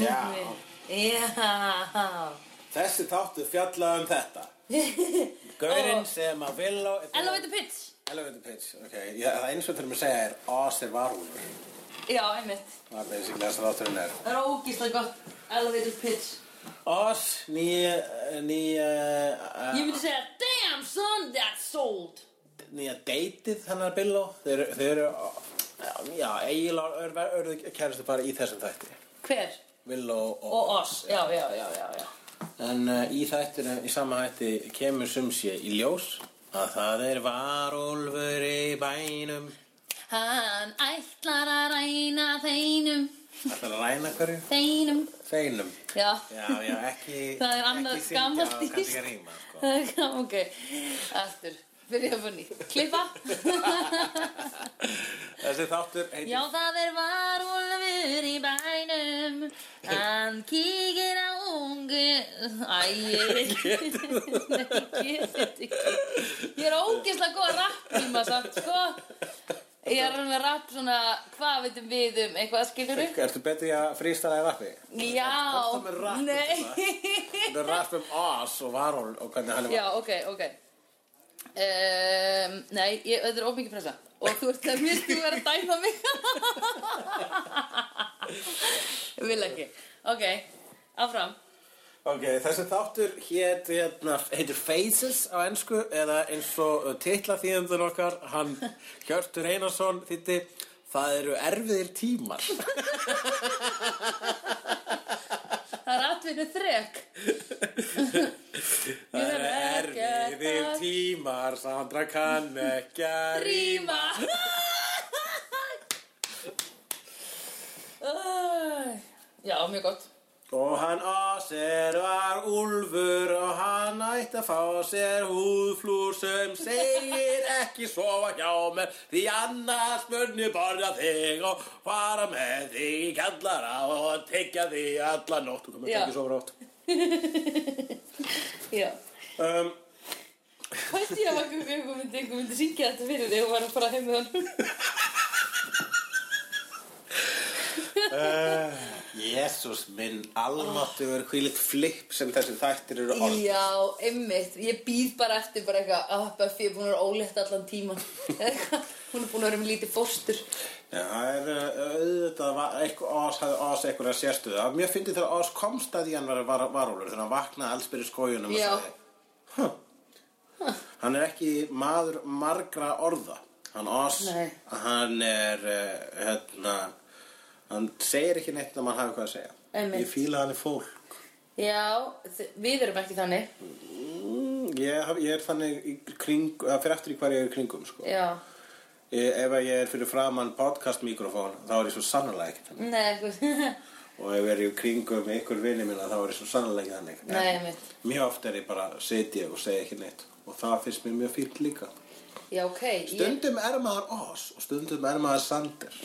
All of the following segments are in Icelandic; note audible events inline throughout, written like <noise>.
Já. Já. Þessi þáttu fjallaði um <laughs> þetta. Gaurinn sem að vil á... Elevator pitch. Elevator pitch, ok. Já, það eins og þurfum að segja er Oss er varúlfur. Já, einmitt. Það er basically þess að þátturinn er. Það er ógíslega gott. Elevator pitch. Oss, nýja... nýja... Ég myndi segja, damn son, that's sold. nýja deitið hennar Billó þeir, eru- þeir eru já, já, eiginlega ör- örðu kæristu bara í þessum þætti Hver? Billó og, Og oss. Já, já, já, já, já. en uh, í þættinu, í sama hætti kemur sumsé í ljós að það er varúlfur í bænum Hann ætlar að ræna þeinum, Það er að ræna hverju? þeinum. Þeinum Já. Já, já, ekki Það er annað ekki syngja gamalt og kannski íslenskt. ekki rýma sko. Það er gaman, ok. Aftur. Byrja upp á nýtt. Klippa. Þessi þáttur heitir Já, það er varúlfur í bænum. Hann kíkir á ungu. Æ, ég veit ekki. <laughs> Nei, ég get ekki. Ég er ógeðslega góð að rappíma samt, sko. Ég er alveg að rapp svona, hvað veitum við um, eitthvað skilur við? Ertu betri að frístæða í rappi? Já, Hvað er það með rapp og nei. Það er rapp um Oz og varúlf og hvernig hann er Já, ok, ok um, Nei, ég, þetta er ómikið pressa Og þú ert að mér þú er að dæma mig Ég vil ekki Ok, áfram Ok, þessi þáttur hét, hérna, heitir Faces á ennsku eða eins og titla þýðumdur okkar, <laughs> hann Hjörtur Einarsson þýtti Það eru erfiðir tímar. Það er atvinnu þrek Það eru <laughs> erfiðir tímar, Sandra kann ekki að rýma. Rýma Æ, Já, mjög gott <laughs> Og hann á sér var úlfur og hann ætti að fá sér húðflúr sem segir ekki sofa hjá mér því annars munni borða þig og fara með þig í kallara og tekja þig alla nótt. Þú komið Já. ekki sofa rátt. Já Um, Fæst ég að maður einhver myndi, einhver myndi syngja þetta fyrir þig og var að fara heim með honum Jésús minn, almáttugur, hvílík flipp sem þessi þættir eru orðin. Já, einmitt, ég býð bara eftir bara eitthvað að Buffy er búin að vera ólétt allan <laughs> tíman Hún er búin að vera með lítið fóstur Já, það er uh, auðvitað var, eitthvað, Oz hafði Oz eitthvað sérstöðu. Það var mjög fyndið þegar Oz komst að því hann var var- varúlfur, þegar hann vaknaði alls byrja skójunum Já. Huh. Hann er ekki maður margra orða. Hann Oz, Nei. hann er, uh, hérna, hann segir ekki neitt að mann hafi hvað að segja. Einmitt. Ég fíla hann í fólk. Já, þi- við erum ekki þannig Mm, Ég, haf- ég er þannig í kring, það fyrir eftir í hverju ég er í kringum, sko. Já, Ég, ef að ég er fyrir framann podcast-mikrofón, þá er ég svo sannlega ekki þannig. nei, eitthvað <laughs> og ef ég er í kringum með ykkur vinið minna þá er ég svo sannlega ekki þannig Nei, En einmitt. mjög oft er ég bara setja ég og segja ekki neitt og það finnst mér mjög fínt líka Já, ok, ég, stundum er maður Oz og stundum er maður Sander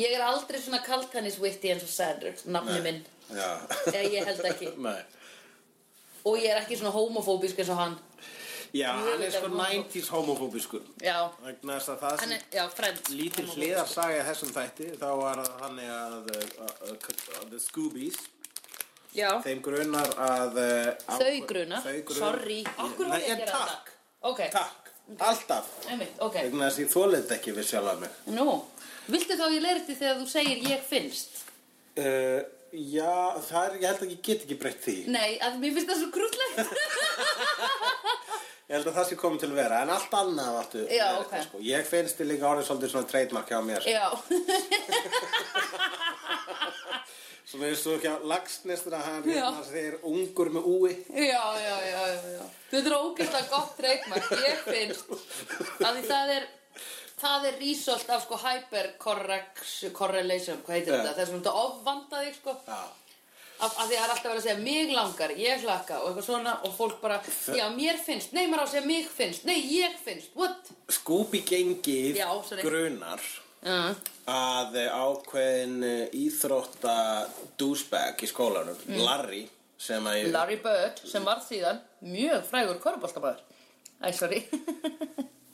ég er aldrei svona kaltanisvitti eins og Sanders, nafni minn já Eða ég held ekki. <laughs> Nei. Og ég er ekki svona homofóbísk eins og hann já, Jú, hann er þetta sko er homofób. 90s homofóbiskur Já, vegna þess að það hann sem er, já, fremd lítið hliðarsaga í þessum þætti þá var það þannig að uh, uh, uh, The Scoobies Já, þeim grunar að uh, þau gruna, þau grunar sorry Akkur var ég að Nei, gera takk, þetta Ok, takk, alltaf einmitt, ok vegna þess að ég þóliði ekki við sjálf að mig Nú, viltu þá ég leirti þegar þú segir ég finnst? uh, Já, það er, ég held að ég get ekki breytt því Nei, að mér finnst það svo grútlegt. Ég held að það sé komið til að vera, en allt annað áttu Já, verið, ok. sko. Ég finnst þið líka orðið svolítið svona trademark hjá mér <laughs> Já, Svona eins og hjá Lagsnestur að hann Já. hérna, þeir ungur með úi já, já, já, já. Þetta er ógeðslega gott reikmark, ég finnst. Af því það er, það er rísolt af sko hypercorrelation, hvað Já. heitir þetta? Það er svona þetta ofvanda þig sko. Já, Af, af því það er alltaf verið að segja mig langar, ég hlakka og eitthvað svona og fólk <laughs> bara, já, mér finnst, nei, maður á að segja mig finnst, nei, ég finnst, what? Scooby gengið Já, sorry. grunar Uh, að eh, ákveðin eh, íþrótta douchebag í skólanum, Mm. Larry sem að ég Larry Bird, sem var síðan mjög frægur korfbóltabæður. Æ, sorry.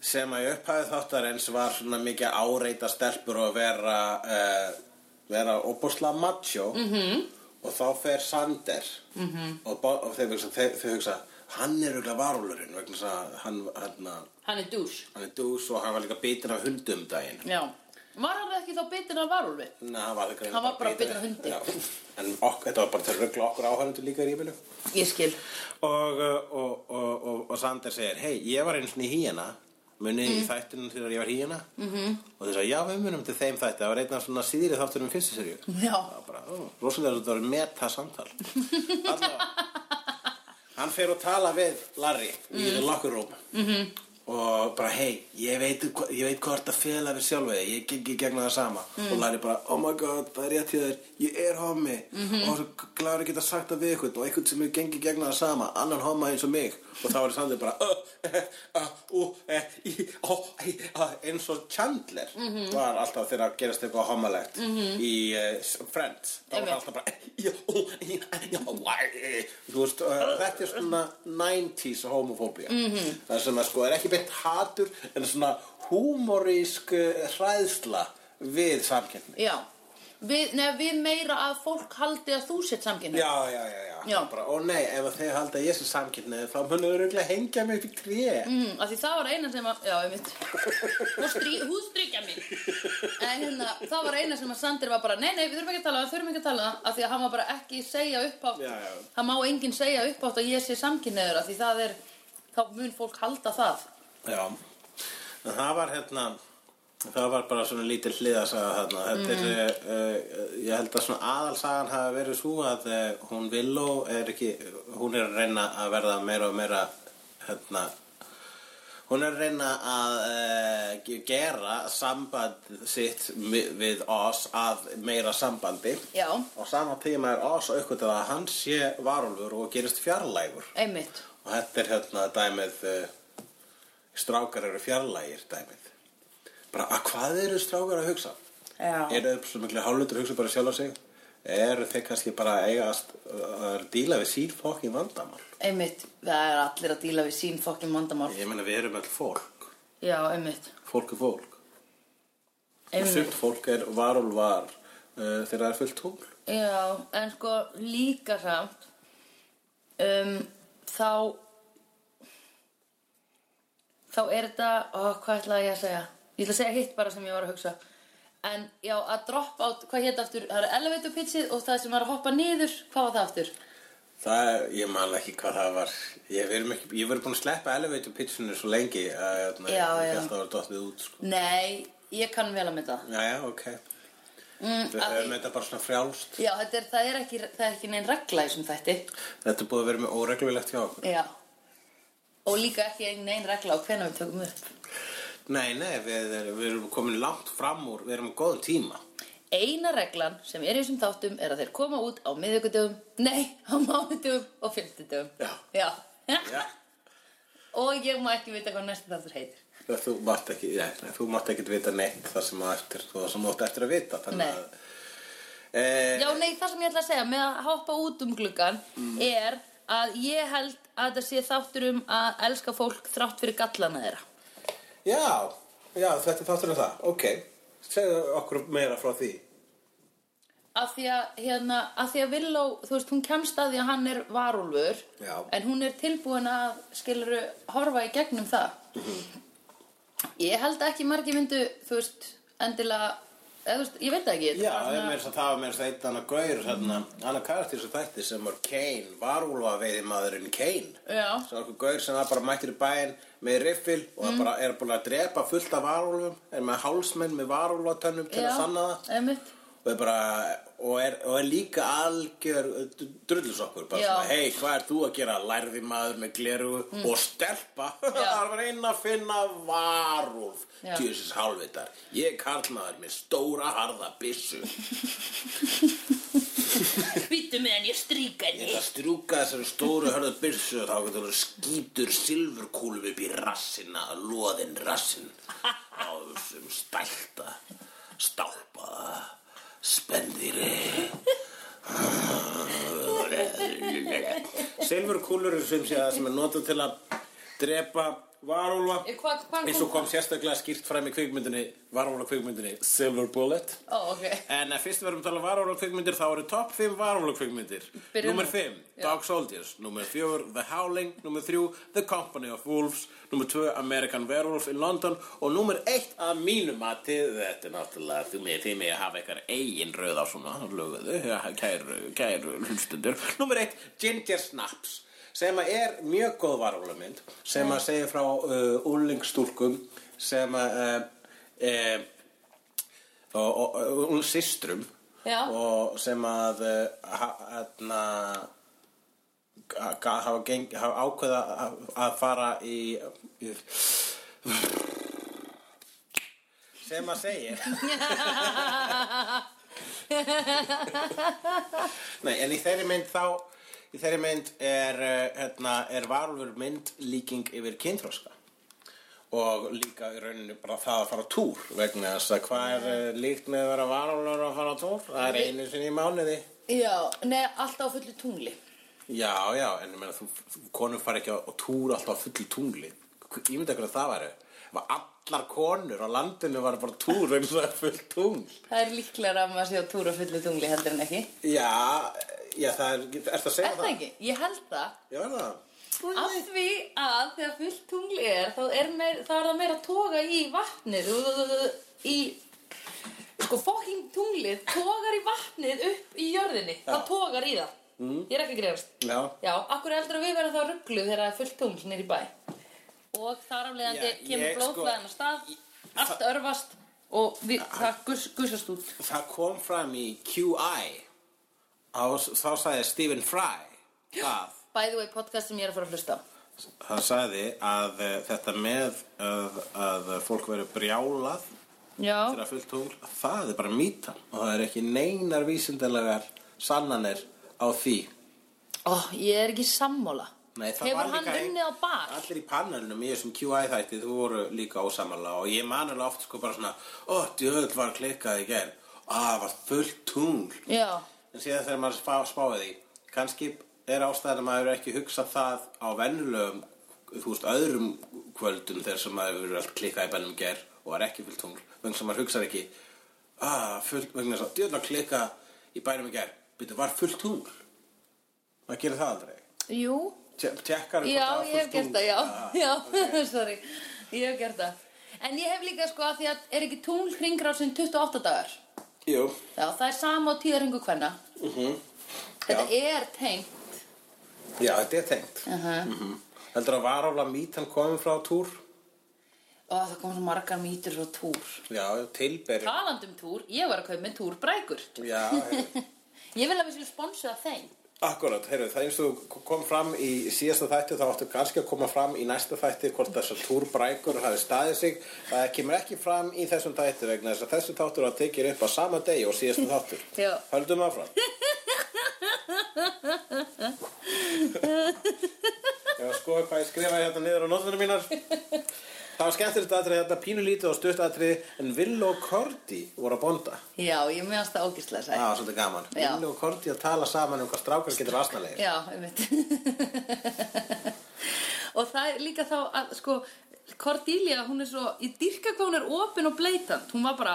sem að í upphæðu þáttarins var svona mikið að áreita stelpur og vera uh, vera opasla macho -hmm. Mhm. og þá fer Sander mm -hmm. og, ba- og þau hugsa, þau, þau hugsa hann er auðvitað varúlurinn vegna þess að hann, hann, <laughs> Hann er dús. hann er dús og hann var líka bitin af hundum um daginn Já. Var hann ekki þá bitin af varúlfi? Nei, hann var, líka- Hann var bara bitinn af hundi. Já. En ok, þetta var bara til að ruggla okkur áhærendur líka í rífinu Ég skil. og, uh, og, og, og, og Sander segir hei, ég var einu sinni híjana munið í þættunum þegar ég var híjana -hmm. og þau sagði, já, við munum til þeim þætti það var einn af svona síðri þáttunum í fyrstu serju Já. það var bara, ó, rosalega þetta var meta samtal allavega hann fer og tala við Larry í the locker room -hmm. og bara, hei, ég veit, hva- ég veit hvað þetta fela við sjálfu þig, ég gengi í gegna það sama og Larry bara, oh my god, það er rétt hjá þér ég er homi -hmm. og glæður geta sagt það við ykkur og einhvern sem er gengi í gegna það sama, annan homa eins og mig og þá er Sander bara uh, uh, uh, uh, uh, í, ó, í, uh, eins og Chandler var alltaf þegar að gerast eitthvað homalegt í uh, Friends þá var Einmitt. alltaf bara já, já, já, já, þú veist, uh, þetta er svona 90s homofóbía -hmm. það er svona, sko, er ekki beint hatur en svona húmorísk uh, hræðsla við samkjöfni Já. Við, nei, við meira að fólk haldi að þú sett samkynni. já, já, já, já, Já. Bara, ó nei, ef að þeir halda að ég sem samkjöfni þá munum við röglega hengja mig upp í tré Mm, af því það var eina sem að, já, ég mitt, húðstrykja mig. Mm. En hérna, það var eina sem að Sander var bara, nei, nei, við þurfum ekki að tala, við þurfum ekki að tala, af því að hann var bara ekki segja upphátt, Já, já. það má enginn segja upphátt að ég sé samkynniður, af því það er, þá mun fólk halda það. já, en það var hérna Það var bara svona lítil hliðasaga þarna. Þetta er, uh, uh, ég held að svona aðalsagan hafa verið svo að uh, hún Villó er ekki, hún er að reyna að verða meira og meira, hérna, hún er að reyna að uh, gera samband sitt mi- við oss að meira sambandi. Já, Á sama tíma er oss aukvitað að hann sé varulfur og gerist fjarlægur. einmitt. Og þetta er hérna dæmið uh, strákar eru fjarlægir dæmið. Bara að hvað eru strákar að hugsa? Já. Eru þeir svo miklu hálflutur að hugsa bara sjálf á sig? Eru þeir kannski bara að eiga að, að díla við sín fokkin vandamál? Einmitt, það er allir að díla við sín fokkin vandamál. Ég meina við erum all fólk. Já, einmitt. Fólk er fólk. Og einmitt. sumt fólk er varulvar uh, þegar það er fullt tungl. Já, en sko líka samt, um, þá, þá er þetta, ó, hvað ætlaði ég að segja? Ég ætla að segja hitt bara sem ég var að hugsa. En já, að drop out, hvað hétt aftur? Það er elevator pitchið og það sem var að hoppa niður, hvað var það aftur? Það er, ég man ekki hvað það var. Ég verið ekki, ég verið búin að sleppa elevator pitchinu svo lengi að hérna, Já, ég já. held að það var dottið út, sko. Nei, ég kann vel að mynda það. Jæja, ok. Mm, Við af höfum því- þetta bara svona frjálst. Já, þetta er, það, er ekki, það er ekki neinn regla í þessum þætti. Þetta er búið að vera með óreglulegt hjá okkur. Já. Og líka ekki neinn regla á hvenær við tökum upp. Nei, nei, við, erum- við erum komin langt fram úr, við erum á góðum tíma. Eina reglan sem er í þessum þáttum er að þeir koma út á miðvikudöfum, nei, á mánudöfum og fymtudöfum. Já. Já. Já. <laughs> og ég má ekki vita hvað næsta þáttur heitir. Þú mátt ekki, nei, nei, þú mátt ekki vita neitt það sem, á eftir, það sem þú átt eftir að vita. Nei. Að, e, Já, nei, það sem ég ætla að segja með að hoppa út um gluggan Mm. er að ég held að þetta sé þáttur um að elska fólk þrátt fyrir gallana þeirra. já, já, þetta er þáttur um það. Ok, segðu okkur meira frá því. Af því að, hérna, af því að Villó, þú veist, hún kemst að því að hann er varúlfur, Já. en hún er tilbúin að, skiluru, horfa í gegnum það. Mhm. Ég held að ekki margir myndu, þú veist, endilega, eða, þú veist, ég veit það ekki. Já, það er meira um svo það var meira svo eitt annað gaur, hérna, annað karakter sem þætti sem var Kane, varúlfa veiði maðurinn Kane. Já. Svo okkur gaur sem það bara mættir í bæinn með riffil og Mm. það bara er búin að drepa fullt af varúlfum, er með hálsmenn með varúlfatönnum til að sanna það Einmitt. og er bara, og er, og er líka algjör uh, drullusokkur, bara Já. Mm. svona, hei, hvað er þú að gera, lærði maður með gleru og stelpa, <laughs> það var einn að finna varúlf, Já. tjóðsins hálfvitar, ég er karlmaður með stóra harða byssu. Býttu með hann, ég stríka Ég henni. ætla að strjúka þessari stóru hörðu byrsu og þá getur þú skítur silfurkúlum upp í rassina, loðin rassin á þessum stælta, stálpaða, spendýri. Silfurkúlur er sem sé það sem er notað til að drepa varúlfa Eh, Hvað hva eins og kom sérstaklega skýrt fram í kvikmyndinni varúlfa kvikmyndinni Silver Bullet Ó, ok. En ef fyrst við erum að tala varúlega kvikmyndir þá eru topp 5 varúlega kvikmyndir. Byrjum Númer á- 5, já. Dog Soldiers. Númer 4, The Howling. Númer 3, The Company of Wolves. Númer 2, American Werewolf in London. Og númer 1 að mínu mati, þetta er náttúrulega því mig, því mig að hafa eitthvað eigin röð á svona löguðu, ja, kæru, kæru hlustundur. Númer 1, Ginger Snaps sem að er mjög góð varúlega mynd sem að segja frá uh, úlingstúlkum sem að uh, uh, og, og, og hún er systrum Já. og sem að eh, ha- hérna ga- ga- hafa, geng, hafa ákveða að, að fara í í- sem að segja Nei, en í þeirri mynd þá í þeirri mynd er, eh, hérna, er varulfur mynd líking yfir kynþróska og líka í rauninu bara það að fara á túr vegna þess að hvað er eh, líkt með að vera varulfur að fara á túr? Það er einu sinni í mánuði Já, neða, alltaf á fullu tungli. Já, já, en ég meina, þú, þú, konur fara ekki á, á túr alltaf á fullu tungli. Ég myndi hvernig það væri. Var allar konur á landinu var bara á túr eins og það er fullt tungl. Það er líklega að maður sé á túra fullu tungli heldur en ekki. Já, já, það er, ertu að segja Er það ekki? Ég held það. Já, er það. Af því að þegar fullt tungli er, þá er, meir, þá er það meira að toga í vatnið. Þú- þú- þú- þú- Í, sko, fokking tunglið togar í vatnið upp í jörðinni. Það togar í það. Mm. Ég er ekki að grefast. Já. Já, akkur er heldur að við verðum þá rugglu þegar það er fullt tungl nýr í bæ. Og þar aflegandi Já, kemur ég, sko, blóðflæðan á stað, allt örfast og við, það gus, gusast út. Það kom fram í QI. Á, þá sagði Stephen Fry það. By the way, podcast sem ég er að fara að hlusta á. Hann sagði að uh, þetta með að, að fólk veri brjálað Já, þegar fullt tungl, það er bara mýta og það er ekki neinar vísindalegar sannanir á því ó, ég er ekki sammála. Nei, það var Hefur hann líka ein- unnið á bar? Allir í panelnum í þessum QI þætti þú voru líka ósamala og ég man alveg oft sko bara svona ó, djöðl var klikkað í gerð að það var fullt tungl Já, en síðan þegar maður spá, spáði því kannski er ástæðan að maður hefur ekki hugsað það á vennulegum þú veist, öðrum kvöldum þegar sem maður hefur allt klikkað í bænum ger og var ekki fullt tungl vegna sem maður hugsað ekki ah, fullt, vegna þess að djöðla klikka í bænum ger byrju, var fullt tungl maður gerir það aldrei jú, Tje- tjekkar já, ég hef gert það, já, <laughs> Ah. já, sorry, ég hef gert það. En ég hef líka sko að því að er ekki tungl hringrásin 28 dagar? jú, Já, það er sama á tíðarhingu hvenna. Þetta er tengt. já, þetta er tengt Uh heldur að varála mítan komið frá túr Ó, það kom svo margar mýtur frá túr. já, tilberi Talandi um túr, ég var að kaupa með túrbrækur. já, heyrðu. Ég vil að við séum sponsuð af þeim. Akkurat, heyrðu, það eins og þú kom fram í síðasta þætti þá áttu kannski að koma fram í næsta þætti hvort þessar túrbrækur hafi staðið sig það kemur ekki fram í þessum þætti vegna þess að þessi þáttur að tekja upp á sama degi og síðasta þáttur <laughs> Já. Höldum <laughs> áfram Ég var að skoða hvað ég skrifaði hérna niður á nótunum mínar Það var skemmtilegt aðrið þetta pínulítið og stutt aðrið en Vill og Korti voru að bonda Já, ég meðast það ógistlega sætt. Það var svolítið gaman Já. Vill og Korti að tala saman um hvað strákar getur aðsnalegir Já, einmitt. <laughs> og það er líka þá að, sko, Cordelia, hún er svo, ég dyrka hvað hún er opin og bleitant. Hún var bara,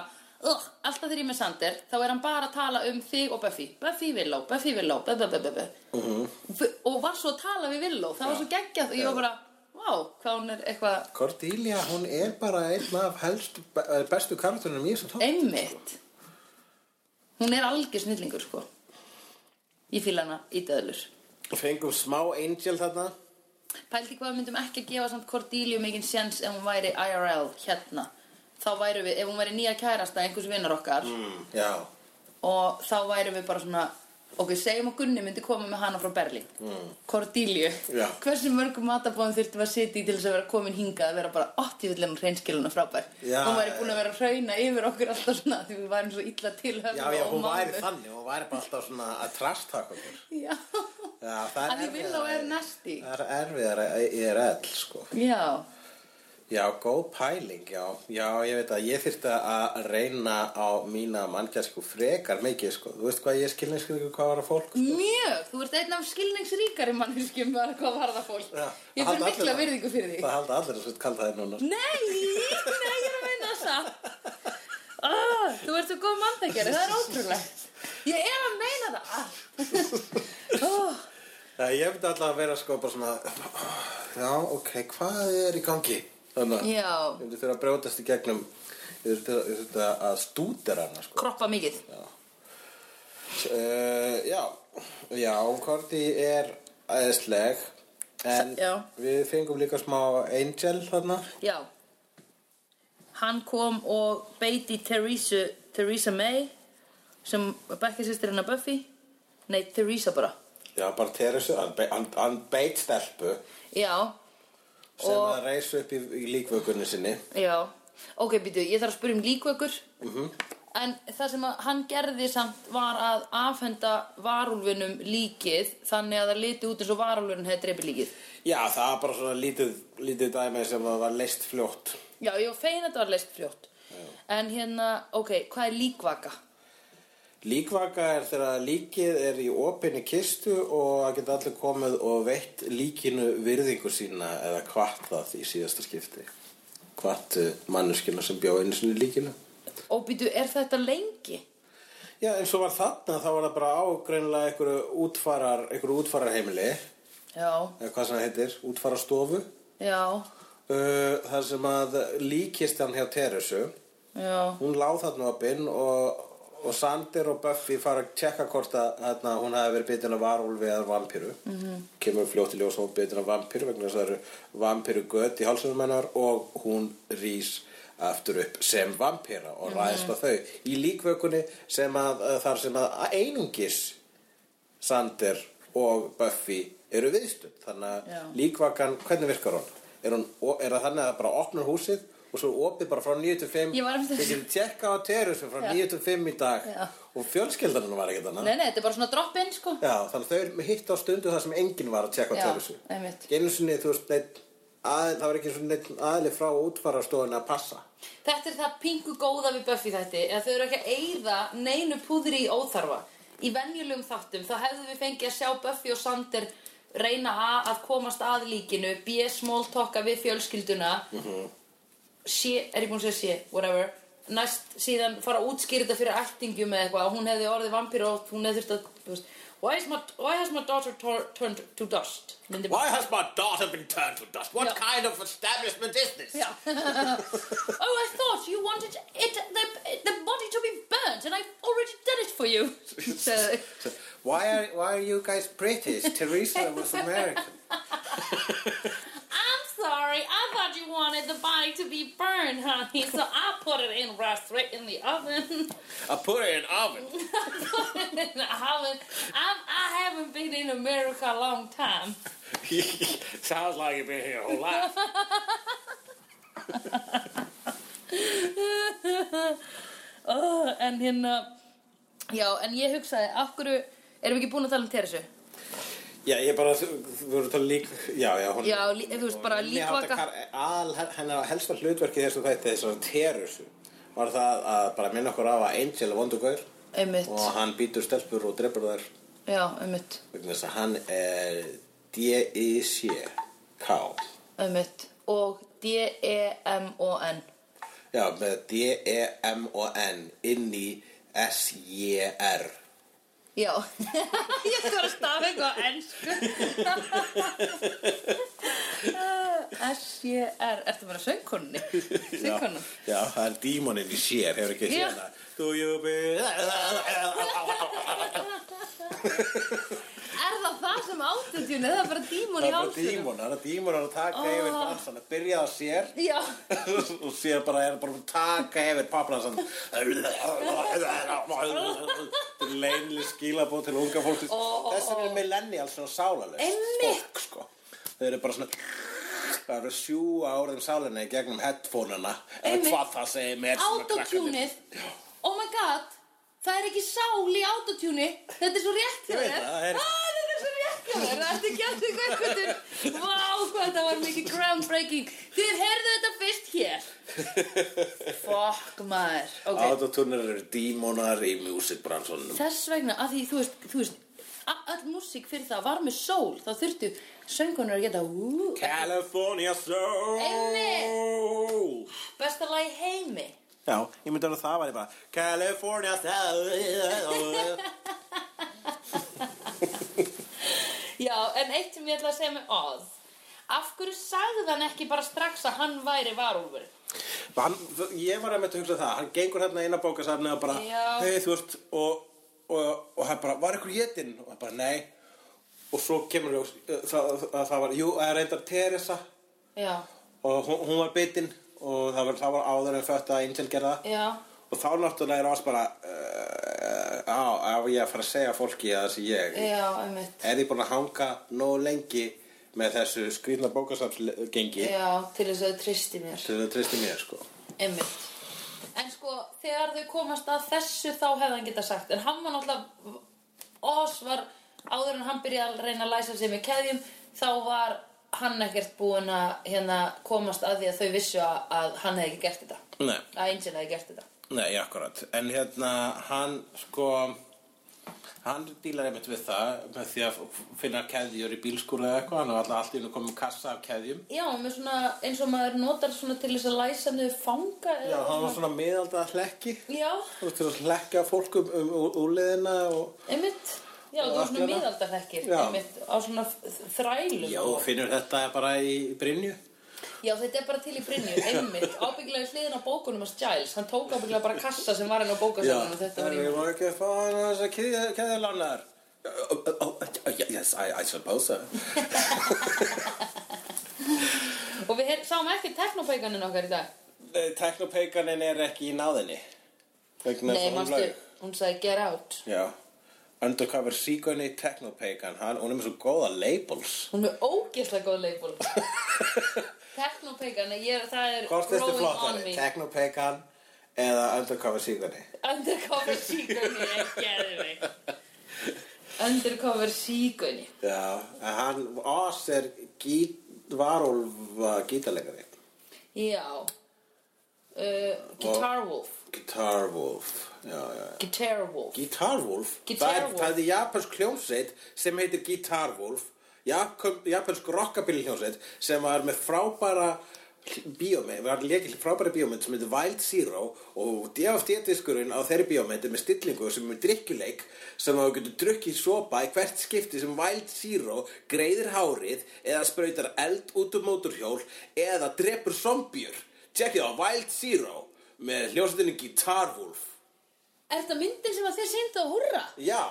ugh, alltaf þegar ég er með Sander, þá er hann bara að tala um þig og Buffy. Buffy Villó, Buffy Villó, blablabla. Uh -huh. Og var svo að tala við Villó, það var svo geggjað og ég var bara, vá, hvað hún er eitthvað Cordelia, hún er bara einn af helst, bestu karakterunum í þessum tótt. Einmitt Hún er algjör snillingur sko Ég fíla hana í döðlur Fengum smá Angel þarna. Pældi hvað við myndum ekki að gefa samt Cordelia mikinn sjens ef hún væri IRL hérna Þá væru við, ef hún væri nýja kærasta einhvers vinnar okkar Mm. Já. og þá væru við bara svona Ok, segjum að Gunni myndi koma með hana frá Berlín mm. Cordelia Já. Hversu mörgum matabóðum þurftum að sitja í til þess að vera komin hingað að vera bara 80 villan hreinskiluna frábær Já, Hún væri búin að vera að hrauna yfir okkur alltaf svona því við værum svo illa tilhöfn Já, já, hún væri þannig, hún væri bara alltaf svona að trasta okkur. Já, Já, það að er því Villó er næsti Það er erfiðara í RL, sko. Já, Já, góð pæling, já. Já, ég veit að ég þyrfti að reyna á mína mannkjærsku frekar mikið, sko. Þú veist hvað ég skilnið skilnið hvað var að fólk? Mm. Mjög, þú ert einn af skilningsríkari manneskjum bara hvað varða fólk. Já, það ég fyrir halda mikla allir- virðingu fyrir því. Það halda allir að svona kalla það núna. sko. Nei, nei, ég er að meina það <laughs> samt. Oh, þú ert svo góð mannþekjari, það er ótrúlegt. Ég er að meina það. <laughs> Oh, Það ég myndi alltaf að vera sko bara svona Já, ok, hvað er í gangi? Þannig að ég já, myndi þurfa að brjótast í gegnum Ég þurfti að, ég þurfti að stúdera hana sko kroppa mikið. uh, Já, já, Korti er æðisleg En Já. við fengum líka smá Angel þarna Já. Hann kom og beiti Theresa, Theresa May sem bekkjarsýstir hennar Buffy. Nei, Theresa bara. Já, bara Teresu, hann, be- hann, hann beit stelpu Já, sem Og- að reisa upp í, í líkvökunni sinni Já, ok, býtu, ég þarf að spyrja um líkvökur En það sem að hann gerði samt var að afhenda varúlfinum líkið Þannig að það liti út eins og varúlfin hefði dreipið líkið Já, það var bara svona lítið, lítið dæmi sem að var leist fljótt Já, ég var fegin að þetta var leist frjótt En hérna, ok, hvað er líkvaka? Líkvaka er þegar líkið er í opinni kistu og það geta allir komið og veitt líkinu virðingu sína eða hvart það í síðasta skipti. Hvart manneskina sem bjóð einu sinni líkinu. Og býtu, er þetta lengi? Já, eins og var þarna þá var það bara ágreinlega einhverju útfarar, einhverju útfararheimili, Já, eða hvað sem það heitir, útfararstofu, já, uh, þar sem að líkistan hjá Teresu, já, hún láð þarna opinn og, og Sander og Buffy fara að tjekka hvort að hérna, hún hafi verið bitin af varúlfi eða vampíru Mhm. -hmm. kemur fljótt í ljós að hún er bitin af vampíru vegna þess að það eru vampíru gött í hálsunum hennar og hún rís aftur upp sem vampíra Mhm. og ræðist á þau í líkvökunni sem að, að þar sem að einungis Sander og Buffy eru viðstönd þannig að Já. líkvakan, hvernig virkar hún? Er, hún, er það þannig að það bara opnar húsið og svo opið bara frá 9 til 5 Ég var einmitt að- Þessi tjekka á Terus frá 9 til 5 í dag Já. og fjölskyldanum var ekkert annað nei, nei, þetta er bara svona droppin, sko Já, þannig að þau hitt á stundu þar sem enginn var að tjekka á Já, Teresu einmitt. einu sinni þú veist neitt að, það var ekki svona neitt aðli frá útfararstofunni að passa Þetta er það pingu góða við Buffy þetta eða þau eru ekki að eyða neinu púðri í óþarfa í venjulegum þáttum þá hefðu við fengið að sjá Buffy og Sander reyna a, að komast að líkinu b. smóltokka við fjölskylduna sé, er ég búin að segja sé, whatever næst síðan fara að útskýra þetta fyrir ættingjum eða eitthvað, hún hefði orðið vampíru og hún hefði þurft að þú veist, why, is my, why has my daughter tor- turned to dust myndi Why has my daughter been turned to dust? What Já. kind of establishment is this? Yeah. oh, I thought you wanted it the, the body to be burnt, and I've already done it for you. so, <laughs> Why are, why are you guys British? Teresa was American I'm sorry. I thought you wanted the body to be burned, honey. So I put it in right straight in the oven. <laughs> I put it in oven <laughs> in the oven. I'm, I haven't been in America a long time. Sounds like you've been here a whole life Oh, en hérna, já, en ég hugsaði, af hverju, erum við ekki búin að tala um Teresu? Já, ég bara, þú þú voru að tala lík Já, já, hún Já, lí- þú veist, bara líkvaka- Al eh, hennar helsta hlutverki í þessu þætti þessar terusu var það að bara minna okkur á að Angel er vondur gaur Einmitt, og hann býtur stelpur og drefur þær já, einmitt, vegna þess að hann er E D-I-C-K einmitt. Og E D-E-M-O-N. Já, með E D-E-M-O-N inn í S-J-R Já, <laughs> ég þarf að stafa eitthvað á <laughs> ennsku S-J-R, ertu bara <laughs> söngkonni? Söngkonni? Já, já, það er dímoninn í sér, hefur ekki Já. séð það Do you <laughs> be Er það það sem átutjun, eða bara dímon Það í er bara hálsunum? dímon, það er dímon að taka Ah. yfir bransan að byrja á sér Já, <laughs> og sér bara er bara að taka yfir pappransan Þetta er leinli skilabóð til unga fólk Ó. Þess vegna er millennials svona sálalust Einmitt. fólk sko Þau eru bara svona Það eru sjú áriðum sálinni í gegnum headphoneana eða Einmitt. hvað það segir mér sem að krakkarnir- autotunið Oh my god, það er ekki sál í autotuni Þetta er svo rétt hjá Ég veit þér það, það er- Ah, Þetta er svo rétt hjá þér, þetta er gert eitthvað eitthvað Vá, hvað þetta var var mikið groundbreaking Þið heyrðu þetta fyrst <laughs> hér Fuck maður okay. Autotuner eru dímonar í músikbransunum Þess vegna að því þú veist, þú veist a- Öll músík fyrir það var með sól Þá þurftu söngunar að geta ú, California Soul Einmitt. Besta lag í heimi Já, ég myndi að það væri bara California Soul Já, en eitt sem ég ætla að segja með Oz Af hverju sagði hann ekki bara strax að hann væri varúlfur? hann, Ég var að með að hugsa það Hann gengur hérna inn á bókasafni og bara Já. Hei, þú veist Og, og, og hann bara, var ykkur hétin? Og hann bara, nei Og svo kemur ljós eh, það, það, það var, jú, það er reyndar Teresa Já, Og hún, hún var bitin Og það var, það var áður en fött að Angel gerða já Og þá náttúrulega er oss bara uh, Á, ef ég er að fara að segja fólki að það sé ég Já, einmitt. Er ég búin að hanga nóg lengi með þessu skrýtna bókasafnsgengi Já, til þess að þau tristi mér. til það tristi mér, sko Einmitt. En sko, þegar þau komast að þessu þá hefði hann geta sagt. En hann var náttúrulega, Oz var, áður en hann byrjaði að reyna að læsa sig með keðjum, þá var hann ekkert búinn að hérna, komast að því að þau vissu að, að hann hefði ekki gert þetta. Nei, Að Angel hefði gert þetta. nei, akkurat En hérna, hann, sko Hann dílar einmitt við það með því að finna keðjur í bílskúru eða eitthvað Hann var alltaf allt í hennu komið kassa af keðjum Já, með svona, eins og maður notar svona til þess að læsa niður fanga. Já, hann var svona miðaldra hlekki Já, Þú veist, til að hlekka fólk um, um, um úliðina og einmitt. Já, Og þú er svona allt hérna. miðaldarhekkir, Já. einmitt, á svona þrælum. Já, og- finnur þetta bara í Brynju Já, þetta er bara til í Brynju, einmitt, ábyggilega í hliðin á bókunum hans Giles, hann tók ábyggilega bara kassa sem var henni á bókasafnum og þetta var í... ég var ekki að fá hann að þess að keðið lánar Yes, I, I suppose so Og við her, sáum ekki teknopækanin okkar í dag. Nei, Teknopeikaninn er ekki í náðinni Vegna þess Nei, að hún manstu, laug. hún sagði get out. Já Undercover Seagunni Teknopeikan hann, Hún er með svo góða labels Hún er með ógeðslega góð leifból. teknopækan, ég, það er Hvort er þetta growing on flottari? me. Teknopeikan eða Undercover Seagunni Undercover síkunni, ég gerði mig. Undercover síkunni. Já, en hann Oz er gít, varúlfa gítarleikari Já. Uh, Guitar Wolf. Guitar Wolf Já, já, já Guitar Wolf. Guitar Wolf? Guitar það, er, Wolf. það er japansk hljómsveit sem heitir Guitar Wolf Jakob- japansk rockabilly hljómsveit sem var með frábæra bíómynd, var leikil frábæra bíómynd sem heitir Wild Zero og DFD-diskurinn á þeirri bíómynd er með stillingu sem er með drikkjuleik sem þú getur drukkið sopa í hvert skipti sem Wild Zero greiðir hárið eða sprautar eld út um móturhjól eða drepur zombjur Tjekkið á Wild Zero með hljómsveitinni Guitar Wolf Er þetta myndin sem að þið sýndu að hurra? Já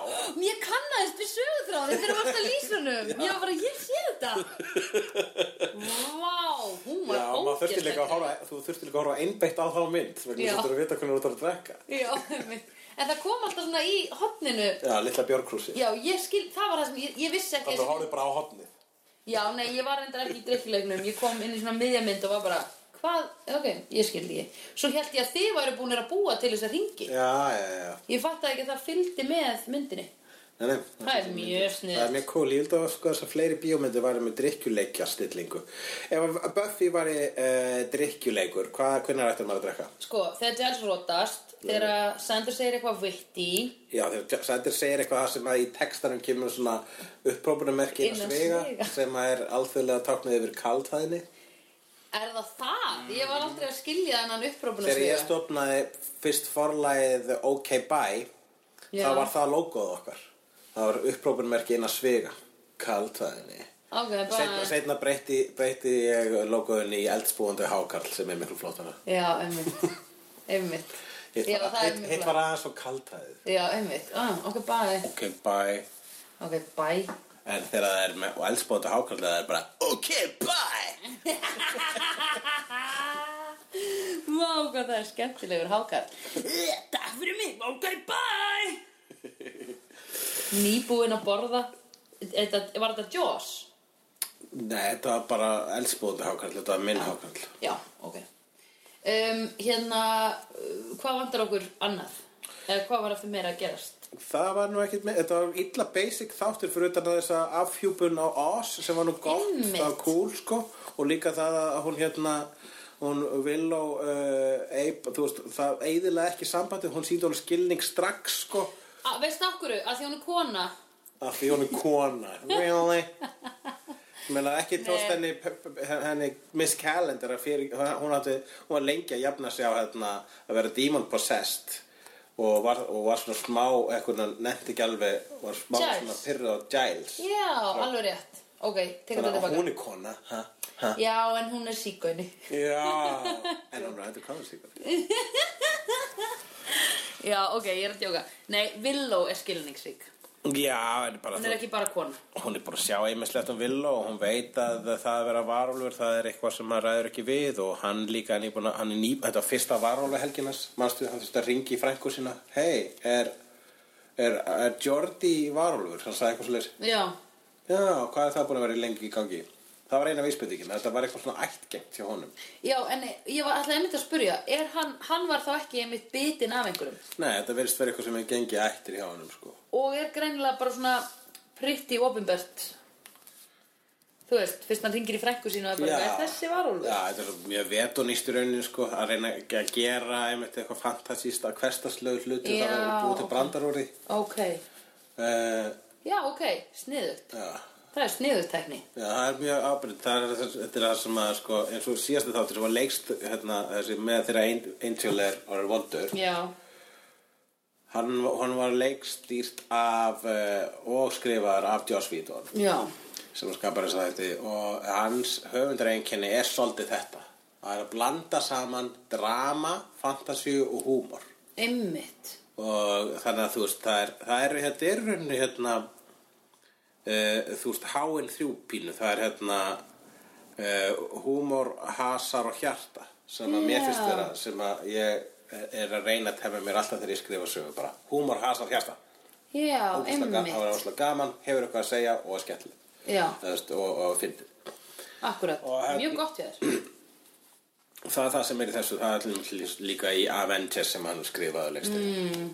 Ég kannaðist við sögutráði þegar varst að lýsa húnum. Ég var bara, ég sé þetta. Vá, hún var Já, maður þurfti líka að ógeðslega. horfa, þú þurfti líka að horfa einbeitt á þá mynd vegna Já. þess að þú þurfti að vita hvernig þú ert að drekka Já, einmitt. en það kom alltaf svona í hotninu. Já, litla björgrúsi Já, ég skil, það var það sem ég, ég vissi ekki. Þannig að horfið bara á hotnið Já, nei, ég var reyndar ekki í drikkilegnum. Ég kom inn í svona miðjamynd og var bara, hvað, ok, ég skil ekki. Svo held ég að þið væru búin að búa til þess að ringi. Já, já, já Ég fattaði ekki að það fylgdi með myndinni. Nei, nei, Það er mjög Það er snið. mjög cool, ég held að sko þess að fleiri bíómyndir væri með drikkjuleikja stillingu Ef að Buffy væri uh, drikkjuleikur, hvað, hvernig ættir maður að drekka? Sko, þegar Giles rótast, þegar Sander segir eitthvað vitti, Já, þegar Sættir segir eitthvað sem að í textanum kemur svona upprópunumerki Innan innan svega sviga. sem að er alþjóðlega táknið yfir kaldhæðinni Er það það? Ég var aldrei að skilja þennan upprópuna Þegar ég stofnaði fyrst forlagið OK Bye Já. þá var það logoð okkar það var upprópunmerki inn að sviga kaldhæðinni Ok, bara... setna, setna breytti, breytti ég logoðin í eldsbúandi hákarl sem er miklu flótana Já, einmitt. <laughs> einmitt. hitt Já, var, það er hitt- mjög hitt var aðeins og kaldhæðið Já, einmitt. Ah, ok, bye. OK Bye Ok, bye. <laughs> en þegar það er með eldsbúandi hákarl það er bara OK Bye Vá, hvað það er skemmtilegur hákar. <laughs> Takk fyrir mig. Ok, bye. Nýbúinn að borða. Þetta, var þetta Jaws? Nei, þetta var bara eldsbúandi hákarl þetta var minn hákarl Já, ok. Um, hérna, uh, hvað vantar okkur annað? Eða hvað var eftir meira að gerast? Það var nú ekkert með, þetta var illa basic þáttur fyrir utan að þessa afhjúpun á Oz sem var nú gott, Einmitt. það var cool sko og líka það að hún hérna, hún Willow, uh, Abe, þú veist, það eiðilega ekki sambandi, hún síndi alveg skilning strax sko A, Ah, veistu af hverju? Að því hún er kona af því hún er kona, really? Ég meina ekki tóst Nei. henni, p- p- henni Miss Calendar að fyrir, hún, átti, hún var lengi að jafna sig á hérna, að vera demon possessed og var, og var svona smá, eitthvað nefndi ekki alveg, var smá Giles. svona pyrrð á Giles. Já, alveg rétt Ok, tekur þetta Þannig að tilbaka hún er kona, ha? ha? Já, en hún er síkvæni Já, en hún er hættu kona síkvæði. <laughs> Já, ok, ég er að djóka Nei, Willow er skilningsrík Já, en bara Hún er þú, ekki bara kona hún er bara að sjá einmislegt um vill og hún veit að það að vera varúlfur það er eitthvað sem maður ræður ekki við og hann líka, hann er, búin að, hann er ný, þetta var fyrsta varúlfur helginas, manstu hann þurfti að ringi í frænku sína, hei, er, er, er Jordi varúlfur, hann sagði eitthvað svolítið, Já, já, hvað er það búin að vera lengi í gangi? Það var eina vísbyndingin, þetta var eitthvað svona ættgengt hjá honum. já, en ég var alltaf einmitt að spurja Er hann, hann var þá ekki einmitt bitinn af einhverjum Nei, þetta verðist verið eitthvað sem hefur gengið ættir hjá honum, sko. Og er greinilega bara svona Pretty opinbert Þú veist, fyrst hann ringir í frekku sínu og er bara, Já. er þessi varúlfur? Já, þetta er svo mjög vetunist í rauninni sko, að reyna ekki að gera einmitt eitthvað fantasíst að hverstaslegu hluti Já, það var búið til ok. brandarúri Ok, uh, já, ok, sniðugt já, Það er sniðutekni já, það er mjög ábyrgð það er þess- þetta er það sem að sko, eins og síðastu þáttur sem var leikst hérna, þessi, með þeirra ein- Angel er orður vondur Já, hann, hann var leikstýrt af uh, og skrifaður af Joss Whedon já, sem að skapa þess að þetta og hans höfundareinkenni er svolítið þetta það er að blanda saman drama, fantasíu og húmor einmitt og þannig að þú veist það er, það er þetta er í rauninni hérna uh, þú veist háin þrjúpínu það er hérna uh, húmor, hasar og hjarta sem að mér Já. finnst vera sem að ég er að reyna að tefna mér alltaf þegar ég skrifa sögu bara húmor, hasar, hjarta Já, Ógeðslega ga- það var einmitt áslega gaman, hefur eitthvað að segja og er skemmtilegt Já, Þú veist, og, og fyndið akkurat, Og hérna- mjög gott hjá þér það er það sem er í þessu það er til dæmis líka í Avengers sem hann skrifaði leikstýri mm,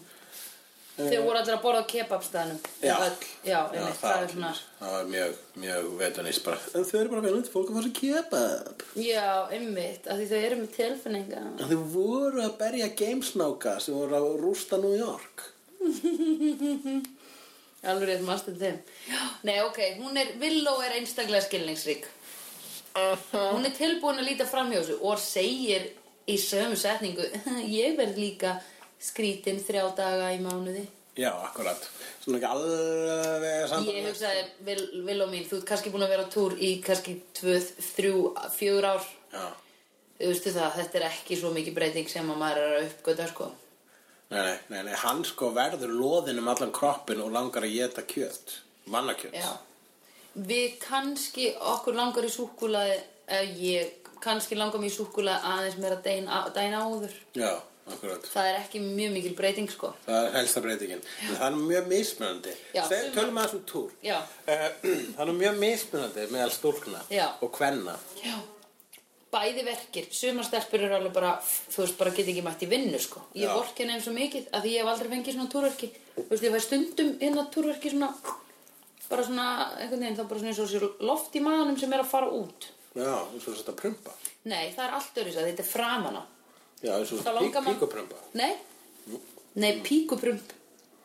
Þau voru allir að borða á kebabstæðanum Öll, já, það, einmitt, það er svona það var mjög, mjög vetunist bara en þau eru bara velund fólk að fara að kebab Já, einmitt, af því þau eru með tilfinninga en þau voru að berja gamesnáka sem voru að rústa New York Alveg rétt maður stund þeim Já, Nei, ok, hún er, Willow er einstaklega skilningsrík Hún er tilbúin að líta fram hjá þessu og segir í sömu setningu <laughs> Ég verð líka skrítin þrjá daga í mánuði já, akkurat svona ekki alveg Ég saman hugsaði, Vil- Villó mín, þú ert kannski búin að vera á túr í kannski 2, 3, 4 ár já, Þú veistu það, þetta er ekki svo mikið breyting sem að maður er að uppgöta sko nei, nei, nei, nei hann sko verður loðin um allan kroppin og langar að geta kjöt mannakjöt Já Við kannski, okkur langar í súkkulaði eða ég, kannski langar mér í súkkulaði aðeins meira dæna, dæna áður já akkurat Það er ekki mjög mikil breyting sko Það er helsta breytingin. En það er mjög mismunandi. Já, Seg, sumar- tölum aðeins um túr. Já. Eh, <clears throat> það er mjög mismunandi meðal stúlkna Já. og kvenna. Já Bæði verkir, sumar stelpur eru alveg bara, þú veist, bara get ekki mætt í vinnu sko Ég Já. vork henni eins og mikið, af því ég hef aldrei fengið svona túrverki Þú veist, ég fæ stundum hérna túrverki svona Bara svona, einhvern veginn, þá bara svona eins og sér loft í maðanum sem er að fara út Já, eins og þetta prumpa. Nei, það er allt öðru þetta er framan á Já, eins og Þá langar mann- píkuprumpa. Nei, nei, píkuprump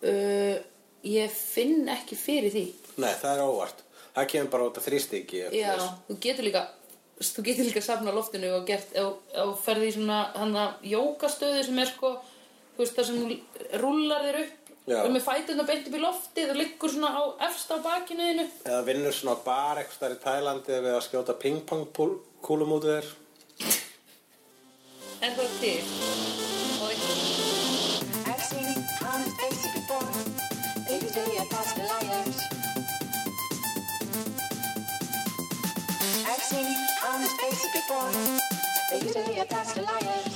uh, Ég finn ekki fyrir því Nei, það er óvart. Það kemur bara út af þrýstingi. Já, þú getur líka þú getur líka safna loftinu og gert og, og ferði í svona hann að jókastöðu sem er sko þú veist það sem þú rúllar þér upp Já. og með fætuna beint upp í loftið og liggur svona á efst á bakinu þínu Eða vinnur svona á bar eitthvað staðar í Tælandi við að skjóta pingpongkúlum út af þér. er það til og I've seen honest faces before. They usually are past the liars. I've seen honest faces before. They usually are past the liars.